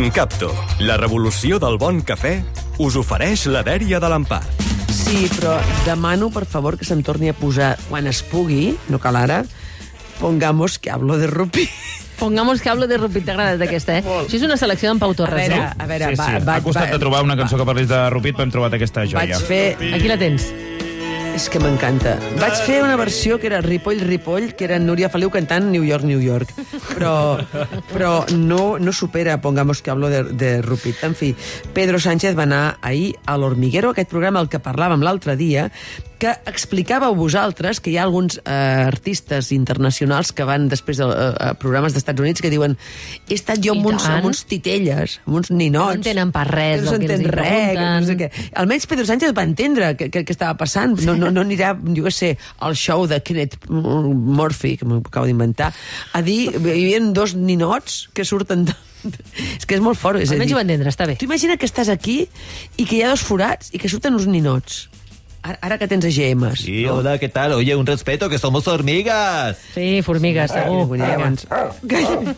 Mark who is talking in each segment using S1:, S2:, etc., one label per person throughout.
S1: Incapto, la revolució del bon cafè, us ofereix la dèria de l'empart.
S2: Sí, però demano, por favor, que se'm torni a posar, quan es pugui, no cal ara, pongamos que hablo de rupi.
S3: Pongamos que hablo de Rupit, t'ha agradat aquesta, eh? Això és una selecció d'en Pau
S2: A
S3: Torres,
S2: veure, a veure,
S4: Sí,
S2: va,
S4: sí.
S2: va,
S4: Ha costat de trobar una cançó que parlés de Rupit, però hem trobat aquesta joia.
S2: vaig fer...
S3: no? eh? Aquí la tens.
S2: És que m'encanta. Vaig fer una versió que era Ripoll, Ripoll, que era Núria Feliu cantant New York, New York. Però, però no, no supera, pongamos que hablo de, de Rupit. En fi, Pedro Sánchez va anar ahir a l'Hormiguero, aquest programa al que parlàvem l'altre dia, que explicàveu vosaltres que hi ha alguns eh, artistes internacionals que van després de, eh, a programes d'Estats Units que diuen he estat jo
S3: I
S2: amb uns,
S3: tant.
S2: amb uns titelles, amb uns ninots.
S3: No entenen pas res
S2: No
S3: del que els
S2: s'entén
S3: hi
S2: res, que no sé
S3: pregunten.
S2: què. Almenys Pedro Sánchez va entendre què, què, què estava passant. No, no, no anirà, jo què sé, al show de Kenneth Murphy, que m'acabo d'inventar, a dir, hi havia dos ninots que surten... De... És que és molt fort. És a
S3: Almenys
S2: dir,
S3: ho va entendre, està bé.
S2: Tu imagina que estàs aquí i que hi ha dos forats i que surten uns ninots. Ara, ara que tens AGMs.
S5: Sí, hola, ¿qué tal? Oye, un respeto, que somos hormigas.
S3: Sí, formigues,
S2: Oh,
S3: segur. Ah,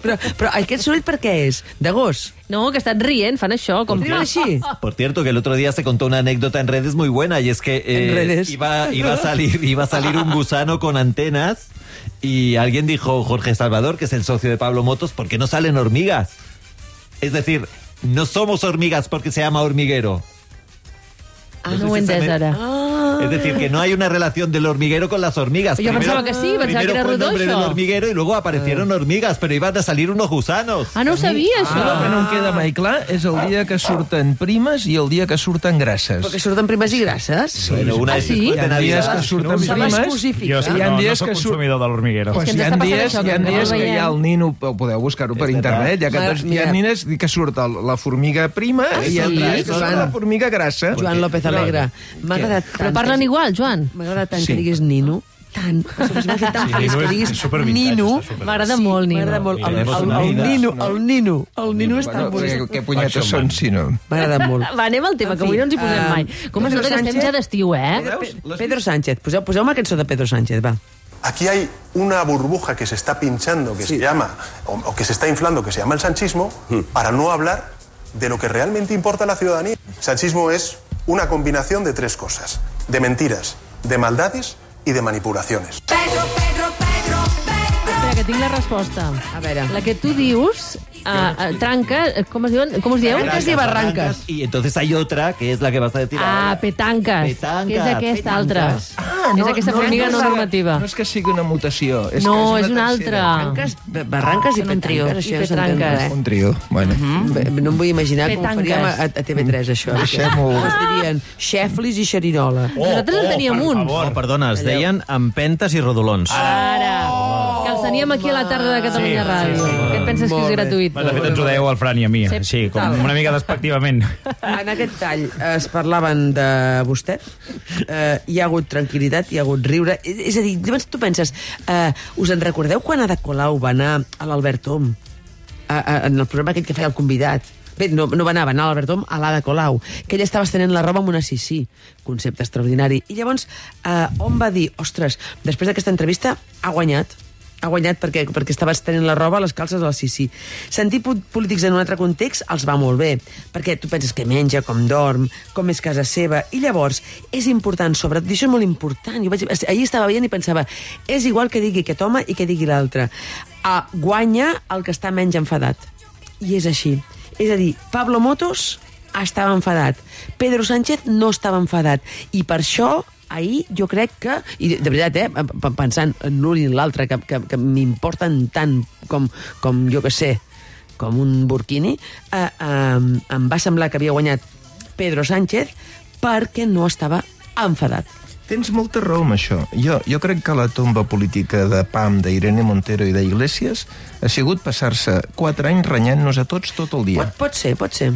S2: però, però aquest soroll per què és? De gos?
S3: No, que estan rient, fan això, com...
S2: Diuen així?
S5: Por cierto, que el otro día se contó una anécdota en redes muy buena y es que eh,
S2: En redes.
S5: Iba, iba a salir, iba a salir un gusano con antenas y alguien dijo, Jorge Salvador, que es el socio de Pablo Motos, ¿por qué no salen hormigas? Es decir, no somos hormigas porque se llama hormiguero.
S3: Ah, no ho he entès ara.
S5: Es decir, que no hay una relación del hormiguero con las hormigas.
S3: Yo pensaba que sí, pensaba
S5: primero
S3: que era
S5: fue el nombre
S3: ruidoso.
S5: del hormiguero y luego aparecieron hormigas, pero iban a salir unos gusanos.
S3: Ah, no ho sabia,
S6: Ah. El que
S3: això.
S6: no em queda mai clar és el dia que surten primes i el dia que surten grasses.
S2: Perquè surten primes i grasses?
S5: Bueno, una
S3: ¿Ah,
S5: vez
S3: sí?
S5: después
S6: Hi
S5: de
S6: ha dies
S5: Navidad.
S6: que surten
S2: Se va
S6: primes...
S2: exclusificar.
S4: Jo és que
S6: Hi ha
S4: Ah, no, no
S6: dies
S4: soc
S6: que surt-
S4: consumidor de l'hormiguero.
S3: És que
S6: Pues hi
S3: ens
S6: ha
S3: està passant
S6: dies,
S3: això,
S6: hi ha
S3: que no
S6: dies que hi ha
S3: veiem.
S6: el nino... Ho podeu buscar-ho per internet. Hi ha, que, hi ha
S2: Mira.
S6: nines que surt el, la formiga prima i hi ha
S3: Ah, sí?
S6: dies que surt
S2: Joan.
S6: la formiga grassa.
S2: Joan López Alegre. M'ha agradat tant.
S3: Però parlen
S2: que-
S3: igual, Joan.
S2: M'ha agradat tant
S6: Sí.
S2: que diguis Nino. Tant. M'ha fet tan
S4: Sí,
S2: feliç
S4: Nino
S2: que
S4: és-
S2: diguis
S4: és supervintage,
S2: Nino.
S4: està super-
S3: M'agrada molt,
S2: M'agrada
S3: Nino.
S2: molt. El, el,
S5: Tenemos
S2: el,
S5: una vida,
S2: Nino, el Nino, el Nino és tan
S6: Bueno,
S2: bonic.
S6: que, que punyetes
S4: Això,
S6: són,
S4: man.
S6: si no?
S2: M'agrada molt.
S3: Va, anem al tema, eh, que avui no ens hi posem
S2: eh,
S3: mai. Com
S2: Pedro
S3: es nota que estem
S2: Sánchez?
S3: ja d'estiu, eh?
S2: Pe- Pedro Sánchez, poseu, poseu una cançó de Pedro Sánchez, va.
S3: Ah.
S7: Aquí hay una burbuja que se está pinchando, que se llama, o, o que se está inflando, que se llama el sanchismo, para no hablar de lo que realmente importa a la ciudadanía. Sanchismo es una combinación de tres cosas, de mentiras, de maldades y de manipulaciones.
S8: Pedro, Pedro, Pedro, Pedro.
S3: Espera, que tinc la resposta.
S2: A veure.
S3: La que tu dius, eh, eh, tranca, eh, com es diuen? Com us dieu?
S2: Tranques i barranques.
S5: Y entonces hay otra que es la que vas a decir.
S3: Ah,
S5: ahora.
S3: petanques.
S5: Petanques.
S3: Que és aquesta altra. Ah, és aquesta formiga no
S6: és que-
S3: normativa.
S6: No és que sigui una mutació. És
S3: No,
S6: que
S3: és una
S6: tercera.
S3: altra.
S2: Barranques, barranques i
S3: Ah, Són un trio.
S2: petranques,
S3: I
S2: això ja s'entén
S3: petranques.
S2: res.
S6: Un trio, bueno.
S2: Bé, No em vull imaginar com ho
S3: Petanques.
S2: faríem a, a TV3, això.
S6: Deixem-ho.
S2: Es dirien xeflis i xerinola.
S3: Nosaltres en teníem
S4: per
S3: uns.
S4: favor.
S5: Oh, perdona, es deien empentes i rodolons.
S3: Ara, que els teníem aquí a la tarda de Catalunya
S4: Sí, sí,
S3: Ràdio.
S4: sí.
S3: Què et penses que
S2: Molt
S3: és
S2: bé.
S3: gratuït?
S4: De fet, ens ho deieu al Fran i a mi,
S3: Sí,
S4: sí,
S3: total.
S4: com una mica despectivament.
S2: En aquest tall eh, es parlaven de vostè, eh, hi ha hagut tranquil·litat, hi ha hagut riure, és, és a dir, llavors tu penses, eh, us en recordeu quan Ada Colau va anar a l'Albert Om, a, a, en el programa aquest que feia el convidat? Bé, no, no va anar, va anar a l'Albert Om, a l'Ada Colau, que ella estava estenent la roba amb una sisí, concepte extraordinari. I llavors, eh, on va dir, ostres, després d'aquesta entrevista ha guanyat, ha guanyat perquè, perquè estaves tenint la roba, les calces o el sisí. Sentir po- polítics en un altre context els va molt bé, perquè tu penses que menja, com dorm, com és casa seva, i llavors és important, sobretot, i això és molt important. Jo vaig, ahir estava veient i pensava, és igual que digui aquest home i que digui l'altre. Ah, guanya el que està menys enfadat. I és així. És a dir, Pablo Motos estava enfadat, Pedro Sánchez no estava enfadat, i per això ahir jo crec que, i de de veritat, eh, p- p- pensant en l'un i en l'altre, que, que, que m'importen tant com, com jo que sé, com un burquini, eh, eh, em va semblar que havia guanyat Pedro Sánchez perquè no estava enfadat.
S6: Tens molta raó amb això. Jo, jo crec que la tomba política de PAM, d'Irene Montero i d'Iglesias ha sigut passar-se quatre anys renyant-nos a tots tot el dia.
S2: Pot, pot ser, pot ser.